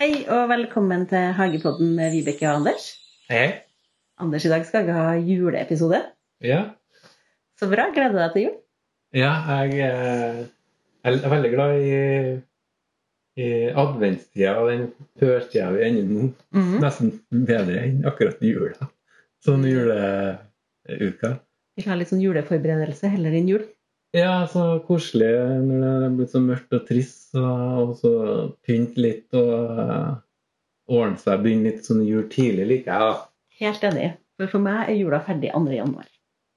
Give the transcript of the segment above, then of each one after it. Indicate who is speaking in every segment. Speaker 1: Hei og velkommen til Hagepodden med Vibeke og Anders.
Speaker 2: Hei.
Speaker 1: Anders, i dag skal vi ha juleepisode.
Speaker 2: Ja.
Speaker 1: Så bra, gleder deg til jul.
Speaker 2: ja, jeg eh, jeg er veldig glad i, i adventstida og den førtida vi er inne i nå.
Speaker 1: Mm.
Speaker 2: Nesten bedre enn akkurat jula. Sånn juleuka.
Speaker 1: Vi skal ha litt sånn juleforberedelse heller enn jul.
Speaker 2: Ja, så koselig når det er blitt så mørkt og trist, og og så pynte litt og eh, ordne seg, begynne litt sånn jul tidlig liker jeg, da.
Speaker 1: Helt enig. For for meg er jula ferdig 2. januar.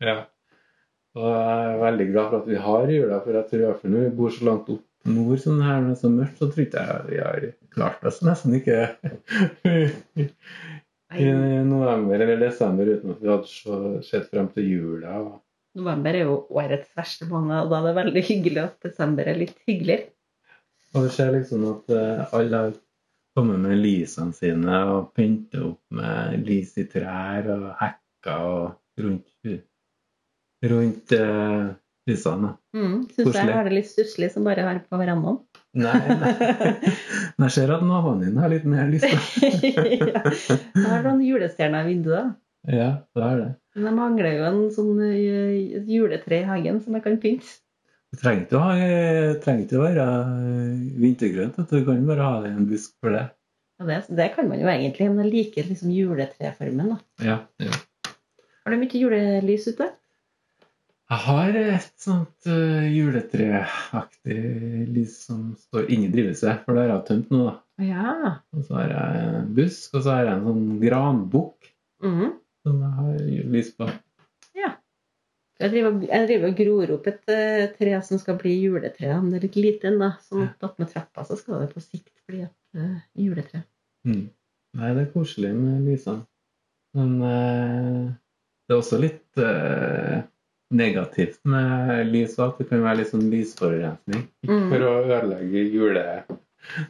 Speaker 2: Ja. Og jeg er veldig glad for at vi har jula, for jeg tror for når vi bor så langt opp nord som det her, når det er så mørkt, så tror ikke jeg vi har klart oss nesten ikke i
Speaker 1: Nei,
Speaker 2: november eller desember uten at vi hadde så- sett frem til jula. og-
Speaker 1: november er jo årets verste måned, og da er det veldig hyggelig at desember er litt hyggeligere.
Speaker 2: Og det skjer liksom at eh, alle har kommet med lysene sine og pynter opp med lys i trær og hekker og rundt, rundt eh, husene. da.
Speaker 1: Mm, Syns jeg
Speaker 2: Koselig.
Speaker 1: har det litt stusslig som bare har på verandaen.
Speaker 2: Nei, nei. Men jeg ser at naboen din har litt mer lyst. da.
Speaker 1: ja. Jeg har noen julestjerner i vinduet. da.
Speaker 2: Ja, det er det.
Speaker 1: Men jeg mangler jo en sånn eh, juletre i hagen som jeg kan pynte.
Speaker 2: Du trenger ikke å, ha, eh, trenger ikke å være eh, vintergrønt. vet Du Du kan bare ha deg en busk for det.
Speaker 1: Ja, det, det kan man jo egentlig, men jeg liker liksom juletreformen. da.
Speaker 2: Ja, ja.
Speaker 1: Har du mye julelys ute?
Speaker 2: Jeg har et sånt eh, juletreaktig lys som står inni drivhuset, for det har jeg tømt nå. da.
Speaker 1: Ja.
Speaker 2: Og så har jeg en busk, og så har jeg en sånn granbukk
Speaker 1: Mhm.
Speaker 2: som jeg har lys på.
Speaker 1: Jeg driver, jeg driver og gror opp et eh, tre som skal bli juletre. Men det er litt lite ennå. Sånn at opp med trappa så skal det på sikt bli et eh, juletre.
Speaker 2: Mm. Nei, det er koselig med lysene. Men eh, det er også litt eh, negativt med lys, at det kan være litt sånn lysforurensning. Ikke
Speaker 1: Mm.
Speaker 2: for å ødelegge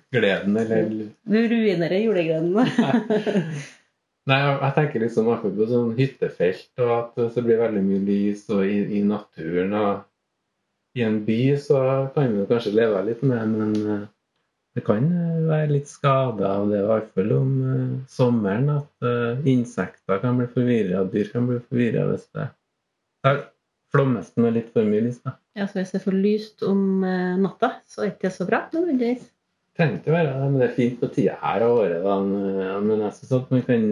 Speaker 2: julegleden eller
Speaker 1: Du ruinerer julegrenene.
Speaker 2: Nei, jeg, jeg tenker liksom akkurat på sånn hyttefelt, og at det så blir veldig mye lys og i, i naturen. og I en by så kan vi jo kanskje leve litt med, men eh, det kan eh, være litt skader av det, i hvert fall om eh, sommeren. At eh, insekter kan bli forvirra, dyr kan bli forvirra hvis det Der flommes det med litt for mye lys. da.
Speaker 1: ja, så hvis det er for lyst om eh, natta, så er det ikke så bra nødvendigvis.
Speaker 2: Trenger ikke være det, men det er fint på tida her av året. da, Men men jeg syns at man kan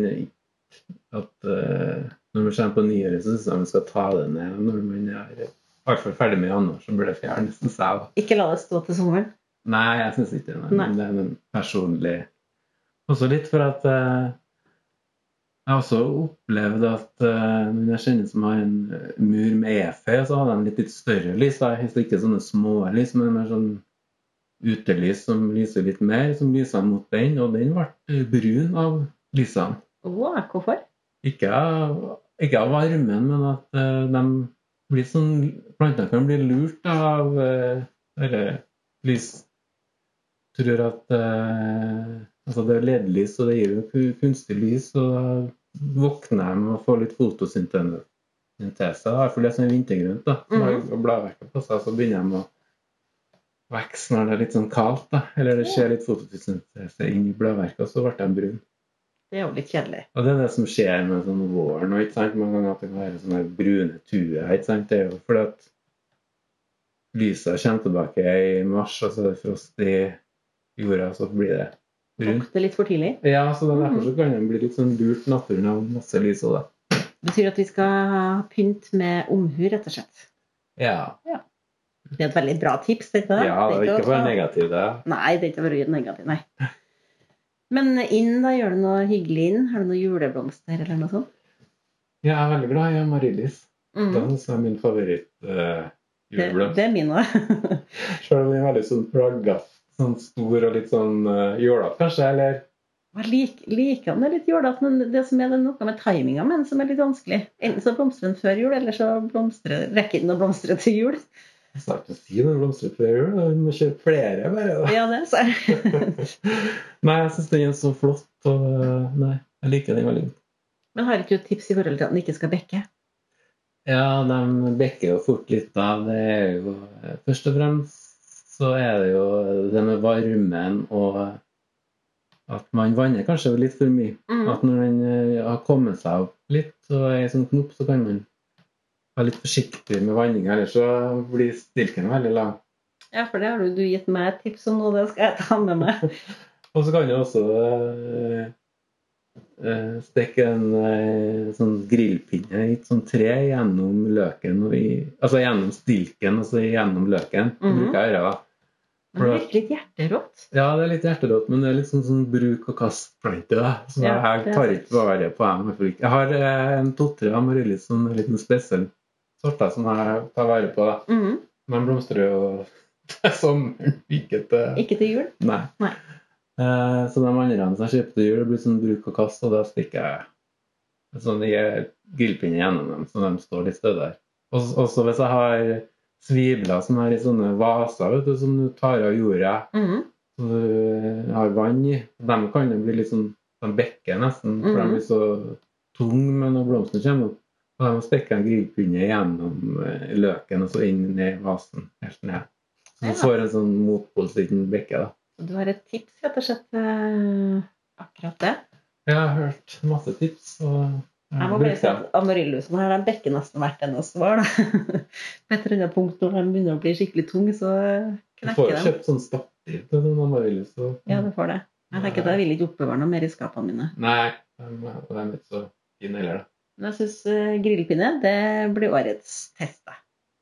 Speaker 2: at eh, Når man kommer på nyåret, så syns jeg man skal ta det ned. og Når man er i hvert fall ferdig med januar, så bør det fjernes. synes jeg, da.
Speaker 1: Ikke la det stå til sommeren.
Speaker 2: Nei, jeg syns ikke det.
Speaker 1: Nei.
Speaker 2: Men det er en personlig Også litt for at eh, jeg har også opplevd at eh, noen jeg kjenner som har en eh, mur med EFE, så har de litt, litt større lys. Da. Helst ikke sånne små lys, men mer sånn utelys som lyser litt mer, som lyser mot den. Og den ble brun av lysene.
Speaker 1: Å, hvorfor?
Speaker 2: Ikke av, ikke av varmen, men at eh, de blir sånn Plantene kan bli lurt av uh, lys. Tror at eh, Altså, det er LED-lys, og det gir jo ku- kunstig lys, og da våkner de og får litt fotosyntese. syntese, da, For det er sånn vintergrønt, da. som har bladverket på seg, så begynner de å vokse når det er litt sånn kaldt, da. Eller det skjer litt fotosyntese inn i bladverket, og så ble de brune.
Speaker 1: Det er jo litt kjedelig.
Speaker 2: Og det er det som skjer med sånn våren og ikke sant, mange ganger at det kan være sånne her brune tuer. ikke sant, Det er jo fordi at lyset kommer tilbake i mars, og så er det frost i jorda, og så blir det brunt.
Speaker 1: Vokte litt for tidlig.
Speaker 2: Ja, så det er derfor så kan den bli litt sånn lurt naturen av masse lys og det.
Speaker 1: Betyr at vi skal pynte med omhu, rett og slett.
Speaker 2: Ja.
Speaker 1: Det er et veldig bra tips. Det er ikke det?
Speaker 2: ja, det er ikke
Speaker 1: å
Speaker 2: bare
Speaker 1: ta-
Speaker 2: negativt, det.
Speaker 1: Nei, det er ikke bare negativt, nei. Men inn, da. Gjør du noe hyggelig inn? Har du noen juleblomster eller noe sånt?
Speaker 2: Ja, jeg er veldig glad i amaryllis.
Speaker 1: Mhm.
Speaker 2: Den som er min
Speaker 1: Det,
Speaker 2: favoritt-juleblomst.
Speaker 1: det er min òg.
Speaker 2: Selv om den er veldig sånn plaggete, sånn stor og litt sånn uh, jålete, kanskje, eller
Speaker 1: Jeg lik- liker den Det er litt jålete, men det som er det er noe med timinga med den som er litt vanskelig. Enten så blomstrer den før jul, eller så blomstrer, rekker den å blomstre til jul.
Speaker 2: Jeg skal ikke si når det blomstrer før jul. da. Vi må kjøpe flere, bare. da.
Speaker 1: Ja, det så.
Speaker 2: Nei, jeg syns den er så flott. Og, eh, nei, jeg liker den veldig godt.
Speaker 1: Men har ikke du et tips i forhold til at den ikke skal bekke?
Speaker 2: Ja, de bekker jo fort litt av. Det er jo eh, Først og fremst så er det jo det med varmen og at man vanner kanskje litt for mye.
Speaker 1: Mm.
Speaker 2: At når den eh, har kommet seg opp litt og er i sånn knop, så kan man være litt forsiktig med vanninga, ellers så blir stilken veldig lang.
Speaker 1: Ja, for det har du, du gitt meg et tips om, og det skal jeg ta med meg.
Speaker 2: Og så kan du også eh, eh, stikke en eh, sånn grillpinne i et sånt tre gjennom løken og i, Altså gjennom stilken og så gjennom løken. Det
Speaker 1: Mhm.
Speaker 2: bruker jeg å gjøre. da.
Speaker 1: Men det virker litt hjerterått.
Speaker 2: Ja, det er litt hjerterått, men det er litt sånn, sånn bruk og kast-plante. da. Så
Speaker 1: Ja, det
Speaker 2: jeg
Speaker 1: er
Speaker 2: tar
Speaker 1: sant.
Speaker 2: ikke vare på dem. Jeg får ikke- Jeg har eh, en to-tre amaryllis som er litt sånn, en spesiell sorter som jeg tar vare på. da.
Speaker 1: Mm.
Speaker 2: De blomstrer jo til sommeren, eh, ikke til
Speaker 1: Ikke til jul.
Speaker 2: Nei.
Speaker 1: Nei.
Speaker 2: Eh, så de andre som jeg kjøpte jul, det blir sånn bruk og kast, og da stikker jeg sånn i grillpinne gjennom dem, så de står litt stødig der. Og også hvis jeg har svibler som er i sånne vaser vet du, som du tar av jorda,
Speaker 1: Mm.
Speaker 2: som du har vann i, de kan jo bli litt sånn De bekker nesten, for de
Speaker 1: Mhm.
Speaker 2: blir så tunge men når blomstene kommer opp. Og de stikker en grillpinne gjennom eh, løken og så inn ned i vasen. helt ned. Så
Speaker 1: Ja.
Speaker 2: du får en sånn motpol så ikke den bekker. da.
Speaker 1: Så du har et tips, rett og slett. eh, Akkurat det.
Speaker 2: Jeg har hørt masse tips. Og
Speaker 1: Jeg må bare si at Amaryllusen her, den dekker nesten hvert eneste svar. da. På et eller annet punkt når den begynner å bli skikkelig tung, så
Speaker 2: Du får
Speaker 1: knekker
Speaker 2: jo
Speaker 1: den.
Speaker 2: kjøpt sånn stativ til den amaryllis. og-
Speaker 1: Ja, du får det. Jeg tenker at jeg vil ikke oppbevare noe mer i skapene mine.
Speaker 2: Nei, de de er ikke så fine heller, da.
Speaker 1: Men jeg syns grillpinne det blir årets test. da.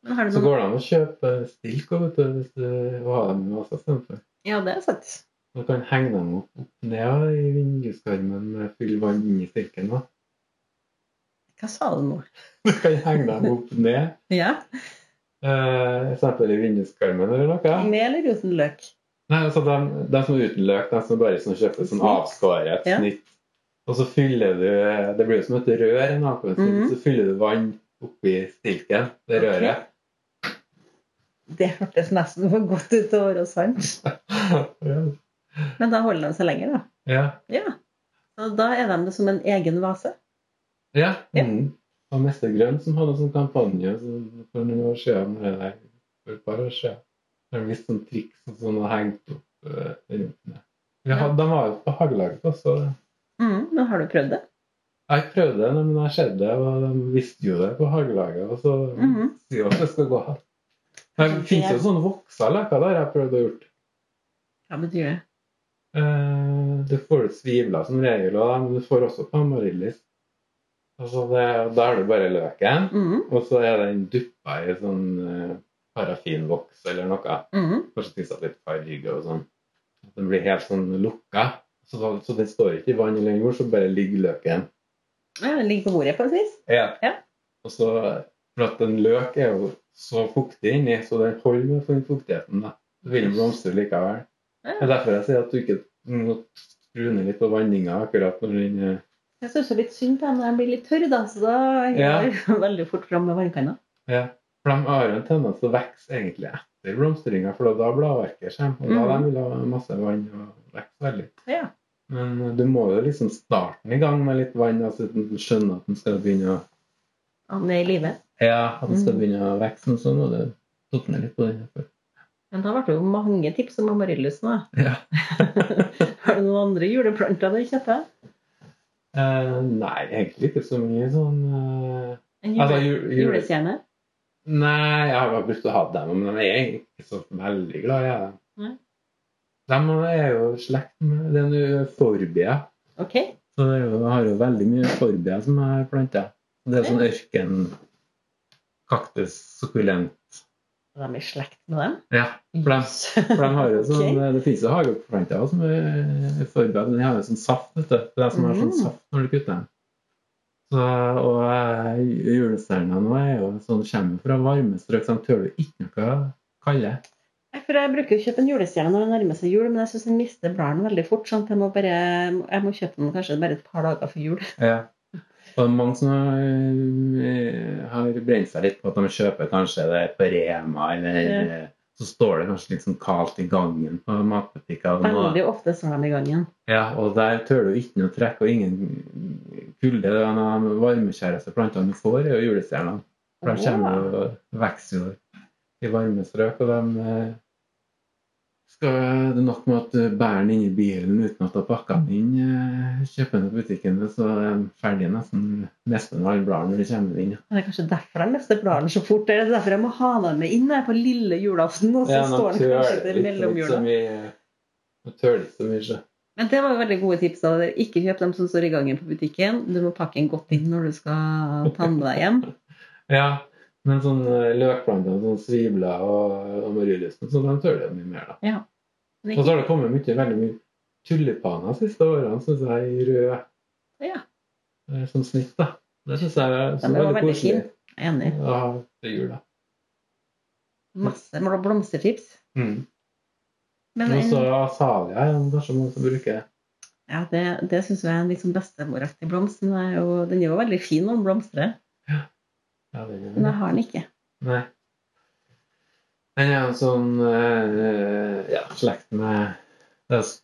Speaker 1: Men har du
Speaker 2: Så
Speaker 1: noen...
Speaker 2: går det an å kjøpe stilk og, vet du, hvis du, og ha dem i vasa istedenfor.
Speaker 1: Ja, det er sant.
Speaker 2: Du kan henge dem opp opp ned i vinduskarmen med full vann inn i stilken. da.
Speaker 1: Hva sa du nå?
Speaker 2: Du kan henge dem opp ned,
Speaker 1: Ja,
Speaker 2: eh, eksempel i vinduskarmen eller noe.
Speaker 1: Med eller uten løk?
Speaker 2: Nei, altså de, de som er uten løk, de som bare sånn, kjøper sånn avskåret
Speaker 1: Ja.
Speaker 2: snitt. Og så fyller du Det blir jo som et rør, en avkåret
Speaker 1: Mhm.
Speaker 2: snitt, så fyller du vann oppi stilken,
Speaker 1: Ok.
Speaker 2: det røret.
Speaker 1: Det hørtes nesten for godt ut til å være sant.
Speaker 2: Ja.
Speaker 1: Men da holder de seg lenger, da.
Speaker 2: ja.
Speaker 1: Ja. Og da er de som en egen vase.
Speaker 2: ja.
Speaker 1: Ja.
Speaker 2: Mm. Og Mester Grønn som hadde en sånn kampanje så for noen år siden, eller nei, for et par år siden. Det er visst sånn triks som sånn, har hengt opp eh, rundt med. Vi
Speaker 1: Ja.
Speaker 2: hadde- De var jo på hagelaget også.
Speaker 1: Mm, men har du prøvd det?
Speaker 2: Jeg prøvde det, men jeg skjedde det, og de visste jo det på hagelaget. Og så
Speaker 1: Mhm.
Speaker 2: sier de at det skal gå an. Det finnes jo sånne vokser leker der jeg har prøvd å gjort.
Speaker 1: Hva betyr det?
Speaker 2: Eh, Du får ut svivler som regel, og da, men du får også på amaryllis. Altså det, da er det bare løken,
Speaker 1: Mm,
Speaker 2: og så er den duppa i sånn eh, parafinvoks eller noe.
Speaker 1: mm.
Speaker 2: Kanskje tilsatt litt farge og sånn. At Den blir helt sånn lukka. Så, da- så den står ikke i vann eller jord, så bare ligger løken.
Speaker 1: Ja, den ligger på bordet, på et vis.
Speaker 2: Ja.
Speaker 1: Ja.
Speaker 2: Og så, for at en løk er jo så fuktig inni, så den holder med for den fuktigheten. da. Så vil den blomstre likevel.
Speaker 1: Ja.
Speaker 2: Det er derfor jeg sier at du ikke må skru ned litt på vanninga akkurat når den eh,
Speaker 1: Jeg syns litt synd på dem når de blir litt tørre, da. Så da
Speaker 2: Ja.
Speaker 1: går de veldig fort fram med vannkanna.
Speaker 2: ja. For de har jo en tendens til å vokse egentlig etter blomstringa, for da bladverket kommer. Og da
Speaker 1: Mhm.
Speaker 2: de vil ha masse vann og vokse veldig.
Speaker 1: Ja.
Speaker 2: Men eh, du må jo liksom starte den i gang med litt vann, altså at den skjønner at den skal begynne å
Speaker 1: Han er i live.
Speaker 2: ja, at den skal
Speaker 1: Mhm.
Speaker 2: begynne å vokse, men så må du totte ned litt på den. her.
Speaker 1: Men da ble det jo mange tips om amaryllusen, da.
Speaker 2: Ja.
Speaker 1: Har du noen andre juleplanter du kjøper?
Speaker 2: Eh, nei, egentlig ikke så mye sånn eh,
Speaker 1: En
Speaker 2: altså,
Speaker 1: jule,
Speaker 2: jul, jul,
Speaker 1: julestjerne?
Speaker 2: Nei, jeg har bare brukt å ha dem, men de er egentlig ikke så veldig glad i dem.
Speaker 1: Nei.
Speaker 2: De er jo slekt med Det er en euphorbia.
Speaker 1: Ok.
Speaker 2: Så det er jo, jeg har jo veldig mye euphorbia som jeg har planta. Det er sånn ørken, kaktus, sukkulent
Speaker 1: De er i slekt med dem?
Speaker 2: Ja. For de,
Speaker 1: Yes.
Speaker 2: for de har jo sånn,
Speaker 1: Ok.
Speaker 2: Det finnes jo hageplanter også som er euphorbia. men De har jo sånn saft, vet du. Det er de som har sånn
Speaker 1: Mm.
Speaker 2: saft når du kutter dem. Så, og eh, julestjerna nå er jo sånn, kommer fra varme strøk, så de tåler jo ikke noe kalde.
Speaker 1: Nei, For jeg bruker jo å kjøpe en julestjerne når det nærmer seg jul, men jeg syns den mister bladene veldig fort. sånn at jeg må, bare, jeg må kjøpe den kanskje bare et par dager før jul.
Speaker 2: Ja. Og det er mange som har, eh, har brent seg litt på at de kjøper kanskje det på Rema, eller eh,
Speaker 1: Ja.
Speaker 2: så står det kanskje litt sånn kaldt i gangen på matbutikker. og nå-
Speaker 1: Veldig ofte står de i gangen.
Speaker 2: Ja, og der tør du ikke noe trekk og ingen kulde. Det er noen av de varmekjæreste plantene du får, er jo julestjernene. For de kommer jo vokser jo i varme strøk, og de eh, skal det er nok med at du bærer den inn i bilen uten at du har pakka den inn. eh, Kjøper den på butikken, så er den ferdig nesten nesten alle bladene når du kommer inn.
Speaker 1: Men Det er kanskje derfor de mister bladene så fort. Det er derfor jeg må ha dem med inn her på lille julaften. Og så står den kanskje til mellomjula.
Speaker 2: Du tøler ikke så mye, så.
Speaker 1: Men det var jo veldig gode tips. da. Ikke kjøp dem som står i gangen på butikken. Du må pakke den godt inn når du skal ta den med deg hjem.
Speaker 2: Ja, men sånn eh, løkplanter, sånn svibler og, og marilysten, så de tøler jeg mye mer, da.
Speaker 1: Men
Speaker 2: Og så
Speaker 1: ikke,
Speaker 2: har det kommet mye, veldig mye tulipaner de siste årene, synes jeg, i rød
Speaker 1: ja,
Speaker 2: eh, som snitt, da. Det synes jeg er
Speaker 1: den var
Speaker 2: veldig
Speaker 1: veldig
Speaker 2: koselig.
Speaker 1: fin. Jeg er enig.
Speaker 2: Ja, til jul, da.
Speaker 1: Masse blomstertips. Men
Speaker 2: Men
Speaker 1: en,
Speaker 2: også asalia er det kanskje noen som bruker.
Speaker 1: ja, det, det syns jeg er en litt sånn bestemoraktig blomst. Den er jo, den er jo veldig fin når den blomstrer,
Speaker 2: Ja, det gjør
Speaker 1: men
Speaker 2: det.
Speaker 1: jeg har den ikke.
Speaker 2: Nei. Den er jo sånn eh, ja, slekt med det er s-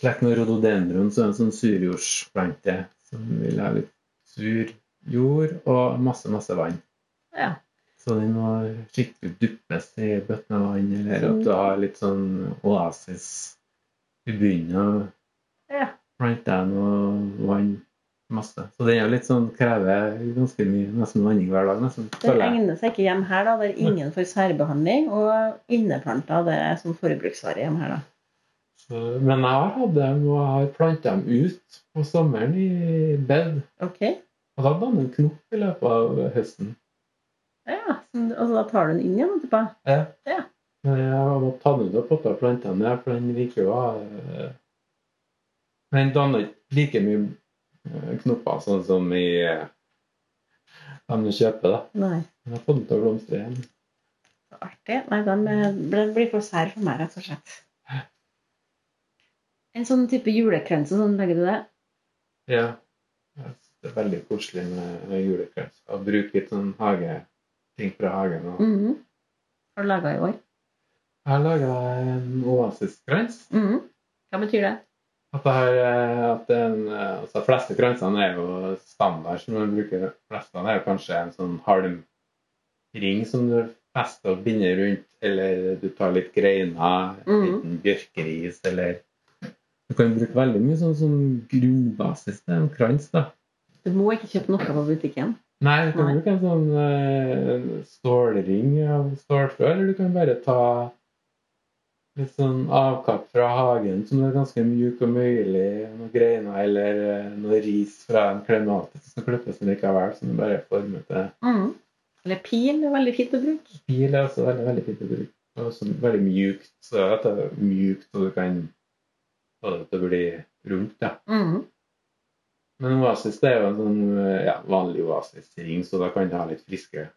Speaker 2: slekt med rhododendron, så er det en sånn surjordsplante som vil ha litt sur jord og masse, masse vann.
Speaker 1: Ja.
Speaker 2: Så den må skikkelig duppes i bøtter med vann, eller at du har litt sånn oasis i bunnen av
Speaker 1: Ja.
Speaker 2: planta og vann masse. Så den er jo litt sånn, krever ganske mye, nesten vanning hver dag. nesten,
Speaker 1: Den
Speaker 2: føler jeg.
Speaker 1: egner seg ikke hjem her, da. Der ingen får særbehandling. Og inneplanter det er som forbruksvare hjem her, da.
Speaker 2: Så, men jeg har hatt dem, og jeg har planta dem ut på sommeren i bed.
Speaker 1: Ok?
Speaker 2: Og da danner en knop i løpet av høsten.
Speaker 1: Ja, så, Og så da tar du den inn igjen etterpå?
Speaker 2: Men jeg har måttet ta den ut og potta planta ned, for den liker jo å ha eh, Den danner ikke like mye eh, knopper sånn som i eh, dem du kjøper, da.
Speaker 1: Nei.
Speaker 2: Men jeg har fått den til å blomstre igjen.
Speaker 1: Så artig. Nei, den eh, ble- blir for sær for meg, rett og slett. En sånn type julekrense, sånn legger du det?
Speaker 2: Ja. Jeg synes Det er veldig koselig med julekrans. Å bruke litt sånn hage, ting fra hagen. Og
Speaker 1: Mhm. Har du laga i år?
Speaker 2: jeg har laga en oasiskrans.
Speaker 1: Mhm. Hva betyr det?
Speaker 2: At det, her, eh, at det er en, eh, altså de fleste kransene er jo standard, som man bruker. De fleste er jo kanskje en sånn halmring som du fester og binder rundt, eller du tar litt greiner, en
Speaker 1: Mhm.
Speaker 2: liten bjørkeris, eller Du kan bruke veldig mye sånn som grunnbasis til en krans, da.
Speaker 1: Du må ikke kjøpe noe på butikken.
Speaker 2: Nei, du kan
Speaker 1: Nei.
Speaker 2: bruke en sånn eh, en stålring av stålfrø, eller du kan bare ta litt sånn avkapp fra hagen som er ganske mjuk og møyelig, noen greiner eller eh, noe ris fra en klematis som skal klippes likevel, som du bare former til
Speaker 1: Mhm. Eller pil er veldig fint å bruke.
Speaker 2: pil. er også veldig, veldig fint å bruke. Og også veldig mjukt, så at det er mjukt, og du kan få det til å bli rundt, da.
Speaker 1: Mhm.
Speaker 2: Men oasis det er jo en sånn ja, vanlig oasisring, så da kan du ha litt friske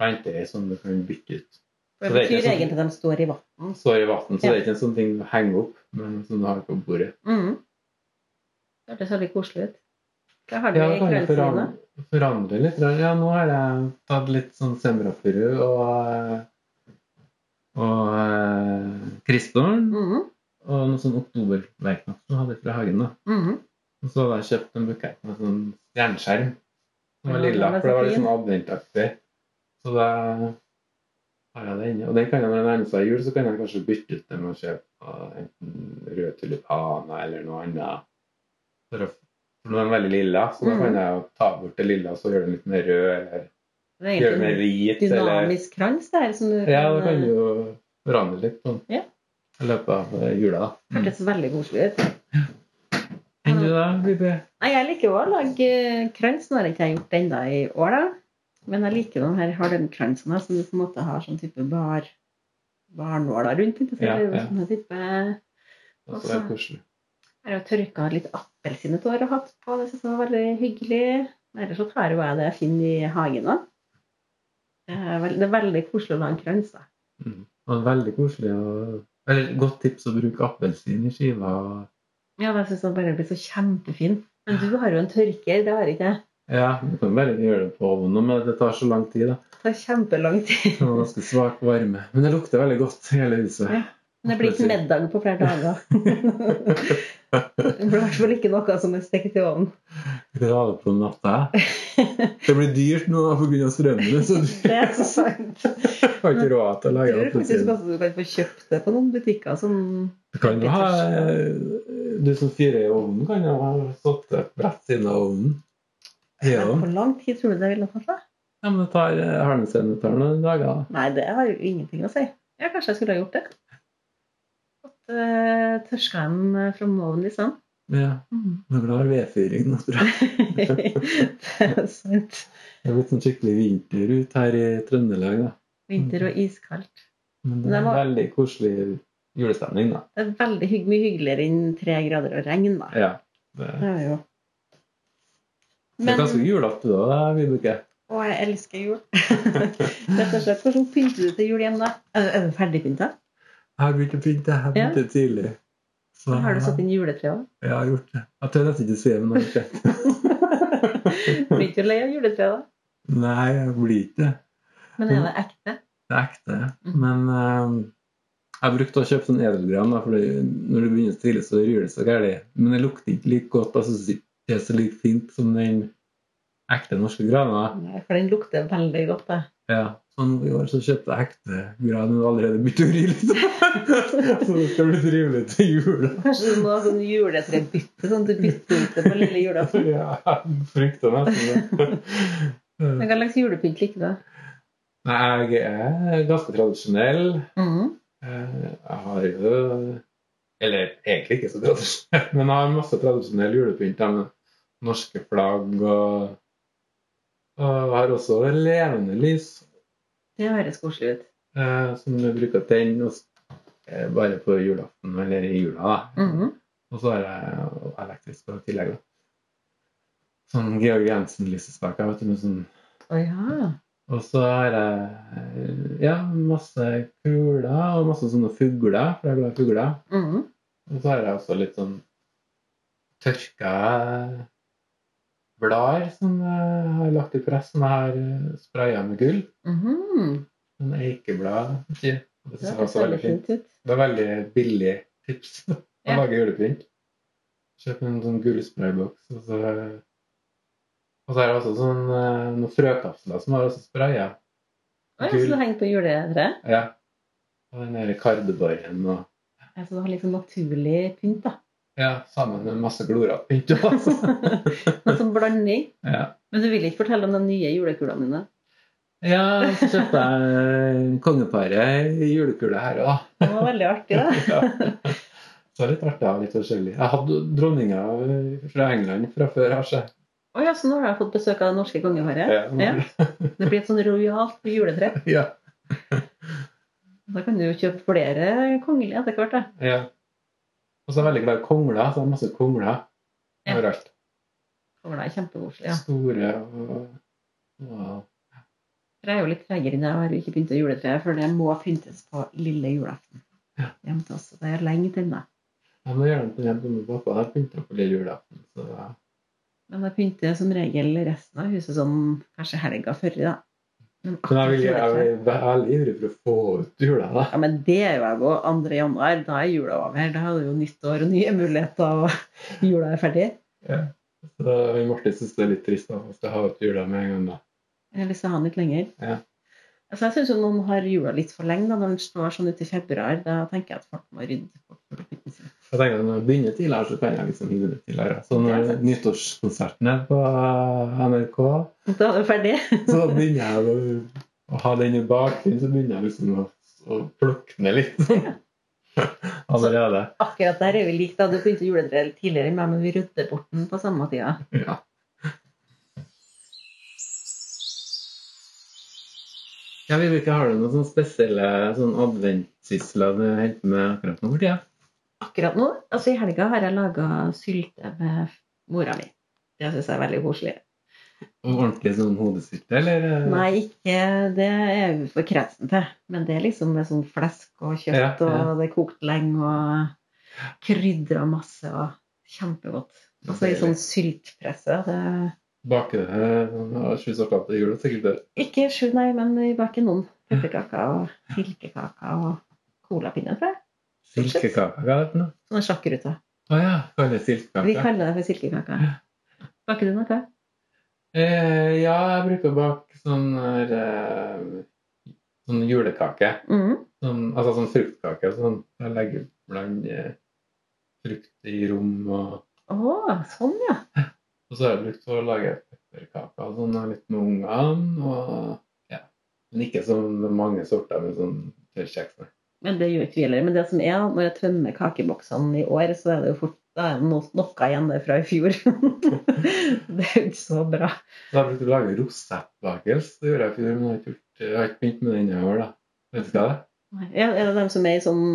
Speaker 2: planter som du kan bytte ut.
Speaker 1: For
Speaker 2: Så
Speaker 1: det
Speaker 2: det er ikke
Speaker 1: betyr
Speaker 2: sånn-
Speaker 1: egentlig at de står i vann.
Speaker 2: Står i vann, så det
Speaker 1: Ja.
Speaker 2: er ikke en sånn ting du henger opp, men som du har på bordet.
Speaker 1: Mm. Det hørtes veldig koselig ut. Hva har du
Speaker 2: Ja,
Speaker 1: i
Speaker 2: det kan jo
Speaker 1: krøllsene?
Speaker 2: forandre, forandre litt. Ja, nå har jeg tatt litt sånn semrapuru og, og eh, kristtorn
Speaker 1: Mm.
Speaker 2: og noe sånn oktoberverknapp som jeg hadde fra hagen. da.
Speaker 1: Mm.
Speaker 2: Og så hadde jeg kjøpt en bukett med sånn jernskjerm. Den var
Speaker 1: Ja,
Speaker 2: lilla,
Speaker 1: den var
Speaker 2: for det
Speaker 1: så
Speaker 2: var litt
Speaker 1: fin.
Speaker 2: sånn adventaktig. Så da har jeg den. Og den kan jeg når det nærmer seg jul, så kan jeg kanskje bytte ut den med å kjøpe eh, enten røde tulipaner eller noe annet. For, å, for nå er den veldig lilla, så da
Speaker 1: Mm.
Speaker 2: kan jeg jo ta bort det lilla og så gjøre den litt mer rød, eller
Speaker 1: Det er
Speaker 2: gjøre den mer
Speaker 1: egentlig en
Speaker 2: hvit, eller
Speaker 1: dynamisk krans der. Som du
Speaker 2: Ja, da
Speaker 1: kan,
Speaker 2: kan
Speaker 1: eh,
Speaker 2: du jo forandre litt sånn
Speaker 1: Ja.
Speaker 2: i løpet av eh, jula, da.
Speaker 1: hørtes veldig koselig ut.
Speaker 2: Enn du da, Bibi?
Speaker 1: Nei, jeg liker også å lage eh, krans. Nå har ikke jeg gjort det ennå i år, da. Men jeg liker den her halmkransene som du på en måte har sånn type bar, barnåler rundt. Ikke? sant?
Speaker 2: Ja,
Speaker 1: Det er jo
Speaker 2: ja.
Speaker 1: sånne type...
Speaker 2: Og så
Speaker 1: Også-
Speaker 2: er Altså, det koselig.
Speaker 1: Jeg har jo tørka litt appelsinetår og hatt på. Det synes jeg var veldig hyggelig. Ellers så tar jo jeg det jeg finner i hagen da. Det er veld- det er veldig koselig å lage en krans, da.
Speaker 2: Mm. Og veldig koselig å Eller godt tips å bruke appelsin i skiva. og-
Speaker 1: Ja, det syns jeg bare blir så kjempefin. Men du har jo en tørker, det har ikke jeg.
Speaker 2: Ja, du kan bare gjøre det på ovnen, men det tar så lang tid. da.
Speaker 1: Det tar kjempelang tid.
Speaker 2: Det var ganske svak varme. Men det lukter veldig godt, hele huset.
Speaker 1: Men det blir ikke middag på flere dager. Det blir i hvert fall ikke noe som er stekt i ovnen.
Speaker 2: Vi kan ha det på natta. Det blir dyrt nå pga. strømmen, så du
Speaker 1: Det er så sant.
Speaker 2: har ikke råd til
Speaker 1: Jeg
Speaker 2: å lage
Speaker 1: tror
Speaker 2: appelsin.
Speaker 1: faktisk også du kan få kjøpt det på noen butikker som
Speaker 2: Du kan jo ha eh, Du som styrer i ovnen, kan jo ha satt et brett siden av ovnen. Ja.
Speaker 1: Men Hvor lang tid tror du det ville tatt? da?
Speaker 2: ja, men det tar har den siden det tar noen dager. da.
Speaker 1: Nei, det har jo ingenting å si. Ja, kanskje jeg skulle ha gjort det. Fått uh, tørska dem eh, fra ovnen, liksom.
Speaker 2: Ja, Nå er det glad i vedfyring nå, tror jeg.
Speaker 1: det er sant.
Speaker 2: Det er blitt sånn skikkelig vinter ut her i Trøndelag, da.
Speaker 1: Vinter og iskaldt.
Speaker 2: Men det
Speaker 1: Det
Speaker 2: er
Speaker 1: var-
Speaker 2: veldig koselig julestemning, da.
Speaker 1: Det er veldig hygg, mye hyggeligere enn tre grader og regn, da.
Speaker 2: Ja. Det
Speaker 1: Det er det jo.
Speaker 2: det er
Speaker 1: Men,
Speaker 2: ganske julete, da, da, Vibeke.
Speaker 1: å, jeg elsker jul. Rett og slett. Hvordan pynter du til jul igjen, da? Er du- Er du ferdigpynta?
Speaker 2: Jeg har begynt å pynte. Jeg har
Speaker 1: Ja.
Speaker 2: begynt tidlig. Så
Speaker 1: Har du satt inn juletre òg?
Speaker 2: Jeg har gjort det. Jeg tør nesten ikke si det, men jeg har gjort det.
Speaker 1: Blir ikke du lei av juletre, da?
Speaker 2: Nei, jeg blir ikke det.
Speaker 1: Men er det ekte?
Speaker 2: Det er ekte.
Speaker 1: Mhm.
Speaker 2: Men eh, jeg brukte å kjøpe sånn edelgran, da, for det- når det begynner tidlig, så ryr det så gærent. Men det lukter ikke like godt. Jeg synes ikke det er så like fint som den ekte norske grana.
Speaker 1: Nei, for den lukter veldig godt, da.
Speaker 2: Ja. Sånn i år så kjøpte jeg ekte gran, men det har allerede begynt å ry litt. så det skal bli trivelig til jul.
Speaker 1: Kanskje du må ha sånn juletrebytte, sånn at du bytter ut det på lille julaften.
Speaker 2: Ja, jeg frykter nesten det.
Speaker 1: Men Hva slags julepynt liker du?
Speaker 2: Nei, jeg er ganske tradisjonell.
Speaker 1: Mhm.
Speaker 2: Eh, Jeg har jo Eller egentlig ikke så tradisjonell, men jeg har masse tradisjonell julepynt. da, med norske flagg og Og har også levende lys
Speaker 1: Det høres koselig ut.
Speaker 2: eh, som jeg bruker å tenne og s- eh, bare på julaften eller i jula. da.
Speaker 1: Mhm.
Speaker 2: Og så har jeg elektrisk i tillegg. da. Sånn Georg Jensen-lysestaker vet du, med sånn
Speaker 1: Å ja.
Speaker 2: Og så har jeg ja, masse kuler og masse sånne fugler, for jeg er glad i fugler.
Speaker 1: Mhm.
Speaker 2: Og så har jeg også litt sånn tørka blader som jeg har lagt i press, som jeg har spraya med gull.
Speaker 1: Mhm.
Speaker 2: Sånn eikeblad. ikke? Det
Speaker 1: Det
Speaker 2: synes jeg
Speaker 1: høres
Speaker 2: også er
Speaker 1: veldig
Speaker 2: veldig fint.
Speaker 1: fint ut.
Speaker 2: Det er veldig billig tips å
Speaker 1: Ja.
Speaker 2: lage julepynt. Kjøp en sånn gullsprayboks, og så Og så er det også sånn, eh, noen frøkapsler som har også spraya.
Speaker 1: Å ja, så
Speaker 2: Gull.
Speaker 1: du henger på juletreet?
Speaker 2: Ja. Og den der kardebarren og
Speaker 1: Ja, Så du har liksom naturlig pynt, da.
Speaker 2: Ja, sammen med masse glorapynt. Altså.
Speaker 1: Noe Sånn som blanding.
Speaker 2: ja.
Speaker 1: Men du vil ikke fortelle om de nye julekulene dine?
Speaker 2: ja, så kjøpte jeg kongeparet i julekule her òg.
Speaker 1: Det var veldig artig, da.
Speaker 2: Ja. Så litt artig av litt forskjellig. Jeg hadde dronninga fra England fra før. har jeg.
Speaker 1: Å ja, så nå har jeg fått besøk av det norske kongeparet.
Speaker 2: Ja.
Speaker 1: Det blir et sånn rojalt juletre.
Speaker 2: Ja.
Speaker 1: Da kan du jo kjøpe flere kongelige etter hvert, da.
Speaker 2: ja. Og så er jeg veldig glad i kongler. Så jeg har masse kongler
Speaker 1: Ja.
Speaker 2: overalt.
Speaker 1: Kongler er kjempekoselig. Ja.
Speaker 2: Store og, og
Speaker 1: For jeg er jo litt tregere enn deg og har jo ikke begynt å juletreet før det må pyntes på lille julaften.
Speaker 2: Ja.
Speaker 1: Hjemme til oss. så Det er lenge til da.
Speaker 2: Jeg må gjøre det på hjemme med pappa. Der pynter jeg på lille julaften. Så ja.
Speaker 1: Men jeg pynter som regel resten av huset sånn kanskje helga før i da. Men,
Speaker 2: Men jeg,
Speaker 1: akkurat
Speaker 2: vil, jeg
Speaker 1: juletre-
Speaker 2: blir veldig ivrig for å få ut jula. da.
Speaker 1: Ja, men det er jo jeg òg. 2. januar, da er jula over. Da er det jo nytt år og nye muligheter, og jula er ferdig.
Speaker 2: Så Martin syns det er litt trist da, at jeg har ut jula med en gang. da.
Speaker 1: Jeg har lyst til å ha den litt lenger.
Speaker 2: Ja.
Speaker 1: Altså, jeg syns noen har jula litt for lenge. da, Når den står sånn ute i februar, da tenker jeg at folk må rydde bort julepynten sin.
Speaker 2: Jeg tenker at Når jeg begynner tidligere, så kan jeg liksom hive det tidligere. Så
Speaker 1: Det er
Speaker 2: når
Speaker 1: sant.
Speaker 2: nyttårskonserten er på NRK,
Speaker 1: Da er det ferdig.
Speaker 2: så begynner jeg å, å ha den i bakgrunnen. Så begynner jeg liksom å, å plukke ned litt sånn. allerede.
Speaker 1: Akkurat der er vi like. Da. Du begynte juletreet litt tidligere enn meg, men vi rydder bort den på samme tida.
Speaker 2: Ja. Ja, Vibeke, har du noen sånne spesielle sånn adventsysler du holder på med akkurat nå for tida?
Speaker 1: Akkurat nå, altså i helga, har jeg laga sylte med mora mi. Det syns jeg er veldig koselig.
Speaker 2: Og Ordentlig sånn hodesylte, eller? eh,
Speaker 1: Nei, ikke det er jo for kretsen til. Men det er liksom med sånn flesk og kjøtt,
Speaker 2: Ja, ja.
Speaker 1: og det er kokt lenge, og krydra masse, og kjempegodt. Og så i sånn syltpresse. Det
Speaker 2: Bake sånn, sju sorter til jul, sikkert. eh, det.
Speaker 1: ikke sju, nei, men vi baker noen pepperkaker og silkekaker og colapinner, tror jeg.
Speaker 2: Silkekake, hva er det for noe?
Speaker 1: Sånne sjakkruter.
Speaker 2: Å ja. Kalle
Speaker 1: Vi
Speaker 2: silkekake.
Speaker 1: kaller det for silkekake. Baker du noe?
Speaker 2: Eh, ja, jeg bruker å bake sånn her, eh, sånn julekake.
Speaker 1: Mm.
Speaker 2: Sånn, altså sånn fruktkake. og Sånn. Jeg legger blant eh, frukt i rom, og,
Speaker 1: Å, sånn ja.
Speaker 2: og så har jeg brukt å lage pepperkaker og sånn og litt med ungene. Og ja. Men ikke så mange sorter med sånn tørrkjeks. nei.
Speaker 1: Men det gjør ikke vi heller. Men det som er, når jeg tømmer kakeboksene i år, så er det jo fort da er det no- noe igjen der fra i fjor. det er jo ikke så bra.
Speaker 2: Så jeg har brukt å lage rosettbakels. Det gjorde jeg i fjor, men jeg har ikke gjort- jeg har ikke begynt med den i år, da. Vet du hva det er?
Speaker 1: Ja, er det dem som er i sånn,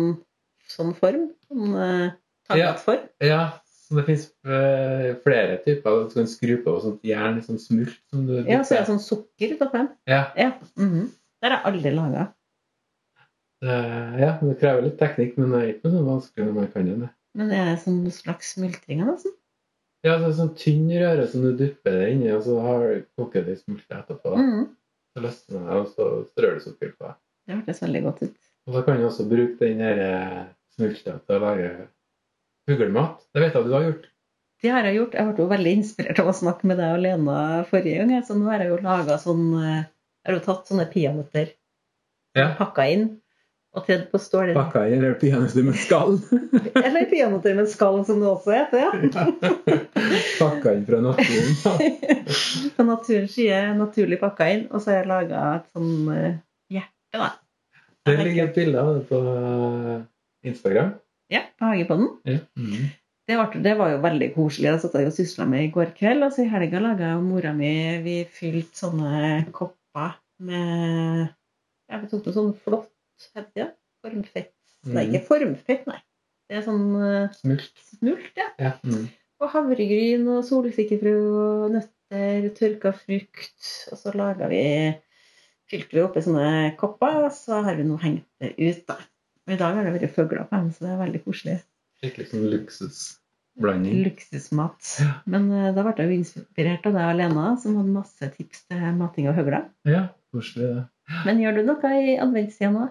Speaker 1: sånn form? Sånn eh, takmatform?
Speaker 2: Ja, så det fins flere typer. Du kan skru på sånt jern, sånn smult som du
Speaker 1: Ja, så er det sånn sukker utapå dem.
Speaker 2: Ja,
Speaker 1: Ja. mhm. Det har jeg aldri laga.
Speaker 2: eh, ja, det krever litt teknikk, men det er ikke noe sånn vanskelig når man kan det.
Speaker 1: Men det er sånn slags smultringer, altså. nesten.
Speaker 2: Ja, det er sånn tynn røre som du dypper det inni, og så har koker det i smult etterpå.
Speaker 1: Mhm.
Speaker 2: Så løsner det, og så strør du sukker på det.
Speaker 1: Det hørtes veldig godt ut.
Speaker 2: Og da kan du også bruke den der eh, smulta til å lage fuglemat. Det vet jeg du har gjort.
Speaker 1: Det har jeg gjort. Jeg ble jo veldig inspirert av å snakke med deg og Lena forrige gang. jeg. Så nå har jeg jo laget sånn eh, Jeg har jo tatt sånne peanøtter,
Speaker 2: Ja.
Speaker 1: pakka inn og tredd på stål.
Speaker 2: Pakka i det peanøtter med skall.
Speaker 1: Eller peanøtter med skall, som det også heter.
Speaker 2: Mm.
Speaker 1: ja.
Speaker 2: Pakka inn fra naturen. da.
Speaker 1: På naturens side naturlig pakka inn. Og så har jeg laga et sånn eh, hjerte, da.
Speaker 2: Det ligger et bilde av det på eh, Instagram. Mm.
Speaker 1: Ja, på Hagepodden.
Speaker 2: Ja.
Speaker 1: Det var, det var jo veldig koselig. Jeg satt jeg og sysla med i går kveld. Og så i helga laga mora mi Vi fylte sånne kopper med ja, Vi tok med sånn flott heter det, formfett. Nei, ikke formfett, nei. Det er sånn eh,
Speaker 2: Smult.
Speaker 1: smult, ja.
Speaker 2: Ja. Mm.
Speaker 1: Og havregryn og solsikkefrø og nøtter, tørka frukt. Og så laga vi Fylte vi oppi sånne kopper, og så har vi nå hengt det ut, da. Og i dag har det vært fugler på dem, så det er veldig koselig.
Speaker 2: Skikkelig sånn luksusblanding.
Speaker 1: Luksusmat. Men eh, da ble jeg jo inspirert av deg alene, som hadde masse tips til mating av høgler.
Speaker 2: Ja, koselig det.
Speaker 1: Men gjør du noe i adventstida nå?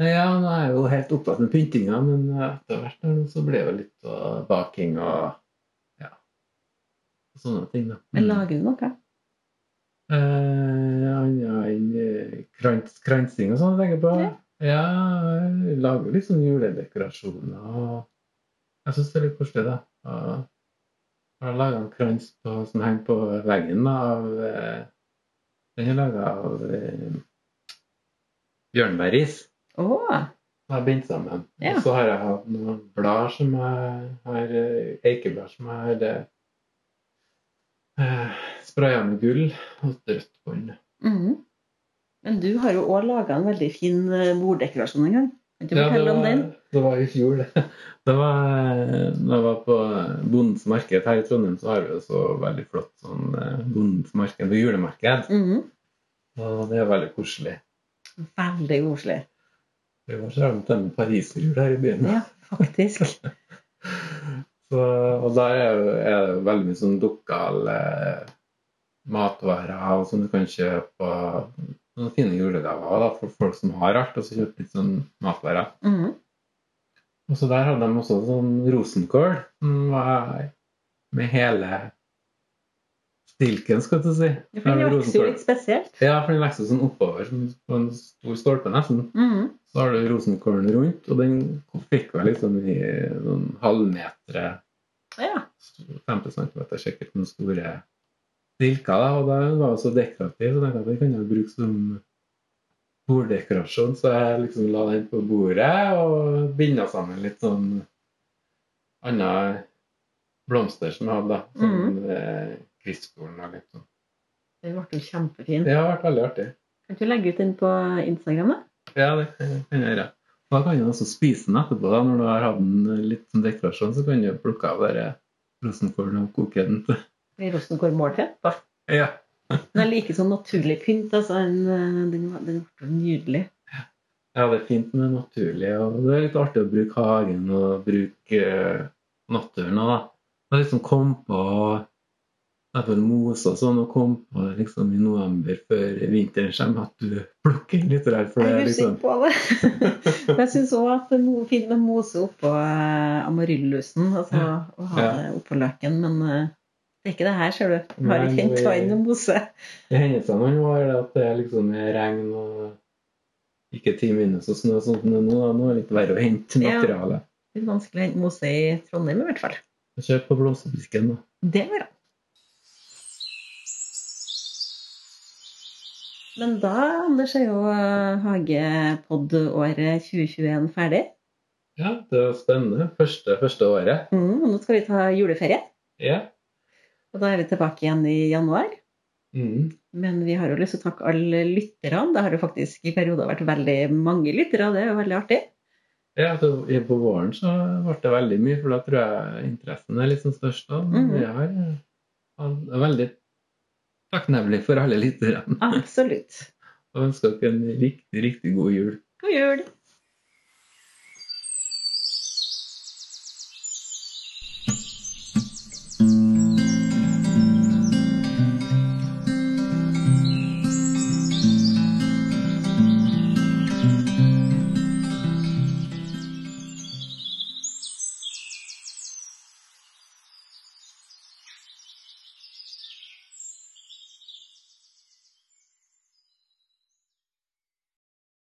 Speaker 2: Ja, nå er jeg jo helt opptatt med pyntinga, men eh, etter hvert nå så blir det jo litt av baking og ja, sånne ting, da.
Speaker 1: Men lager du noe?
Speaker 2: Eh, Annet enn eh, krans, kransing og sånn, tenker jeg på.
Speaker 1: Ja.
Speaker 2: Ja, jeg lager litt sånn juledekorasjoner og Jeg syns det er litt koselig, da. Og Jeg har laga en krans på, som henger på veggen da, av eh, Den er laga av eh, bjørnberris.
Speaker 1: Å!
Speaker 2: Jeg har bindt sammen.
Speaker 1: Ja.
Speaker 2: Og så har jeg hatt noen blad som jeg har eh, Eikeblad som jeg har eh, spraya med gull og et rødt bånd.
Speaker 1: mhm. Men du har jo òg laga en veldig fin eh, borddekorasjon en gang. Kan du
Speaker 2: Ja, det,
Speaker 1: fortelle om
Speaker 2: var,
Speaker 1: den?
Speaker 2: det var i fjor, det. Det var eh, da jeg var på Bondens marked her i Trondheim, så har vi jo så veldig flott sånn eh, Bondens marked og julemarked.
Speaker 1: Mhm.
Speaker 2: Og det er veldig koselig.
Speaker 1: Veldig koselig.
Speaker 2: Vi var så rammet med pariserhjul her i byen.
Speaker 1: Ja, faktisk.
Speaker 2: Så, og der er jo- er det jo veldig mye sånn lokal eh, matvarer og som du kan kjøpe. og Noen fine julegaver da, for folk som har alt, og så kjøpe litt sånn matvarer.
Speaker 1: Mhm.
Speaker 2: Og så der hadde de også sånn rosenkål som var med hele stilken, skal du si.
Speaker 1: Ja, for den
Speaker 2: Der
Speaker 1: vokser jo
Speaker 2: var rosenkål.
Speaker 1: litt spesielt.
Speaker 2: Ja, for den vokser sånn oppover som på en stor stolpe, nesten.
Speaker 1: Mhm.
Speaker 2: Så har du rosenkålen rundt, og den fikk vel litt sånn i noen halvmetre 50 cm sikkert den store stilka. Da, og den var jo så dekorativ, så tenkte jeg at den kan jeg bruke som borddekorasjon. Så jeg liksom la den på bordet og binda sammen litt sånn andre blomster som jeg hadde. da, Sånn eh, kristkorn og litt sånn.
Speaker 1: Den ble jo kjempefin.
Speaker 2: Det har vært veldig artig.
Speaker 1: Kan du legge ut den på Instagram, da?
Speaker 2: Ja, det kan jeg kan jeg gjøre. Og da kan du også spise den etterpå. da, Når du har hatt den litt som dekorasjon, så kan du plukke av det der rosenkålen og koke den til
Speaker 1: Blir rosenkål måltid?
Speaker 2: Ja.
Speaker 1: Den er like sånn naturlig pynt. Altså, den, eh, den, var- den ble jo nydelig.
Speaker 2: Ja, det er fint med naturlig, og det er litt artig å bruke hagen og bruke eh, naturen. også, da. Og liksom komme på mose og sånn, og kom på det liksom i november før vinteren kommer, at du plukker litt der. For
Speaker 1: Jeg er
Speaker 2: det, er
Speaker 1: usikker
Speaker 2: liksom.
Speaker 1: på det. Men jeg syns òg at det er noe fint med mose oppå eh, amaryllusen. Altså
Speaker 2: Ja.
Speaker 1: å ha
Speaker 2: Ja.
Speaker 1: det oppå løken. Men eh, det er ikke det her, ser du. Vi Har
Speaker 2: Nei,
Speaker 1: ikke hent
Speaker 2: vi-
Speaker 1: vann og mose.
Speaker 2: I hendelsene nå er det at det er liksom regn og ikke ti minus og snø og sånt. Men nå, da, nå er det litt verre å hente
Speaker 1: Ja.
Speaker 2: materiale.
Speaker 1: Litt vanskelig å hente mose i Trondheim i hvert fall.
Speaker 2: Kjøp på blomsterbutikken, da.
Speaker 1: Det går an. Men da, Anders, er jo eh, Hagepodd-året 2021 ferdig.
Speaker 2: Ja, det var spennende. Første, første året.
Speaker 1: Mm, og nå skal vi ta juleferie.
Speaker 2: Ja.
Speaker 1: Og da er vi tilbake igjen i januar.
Speaker 2: Mm.
Speaker 1: Men vi har jo lyst til å takke alle lytterne. Det har jo faktisk i perioder vært veldig mange lyttere. Det er jo veldig artig.
Speaker 2: Ja, så i- På våren så ble det veldig mye, for da tror jeg interessen er liksom størst. da. Men
Speaker 1: Mhm.
Speaker 2: jeg har, eh, han- er veldig takknemlig for alle lytterne.
Speaker 1: Absolutt.
Speaker 2: Og ønsker dere en riktig, riktig god jul.
Speaker 1: God jul!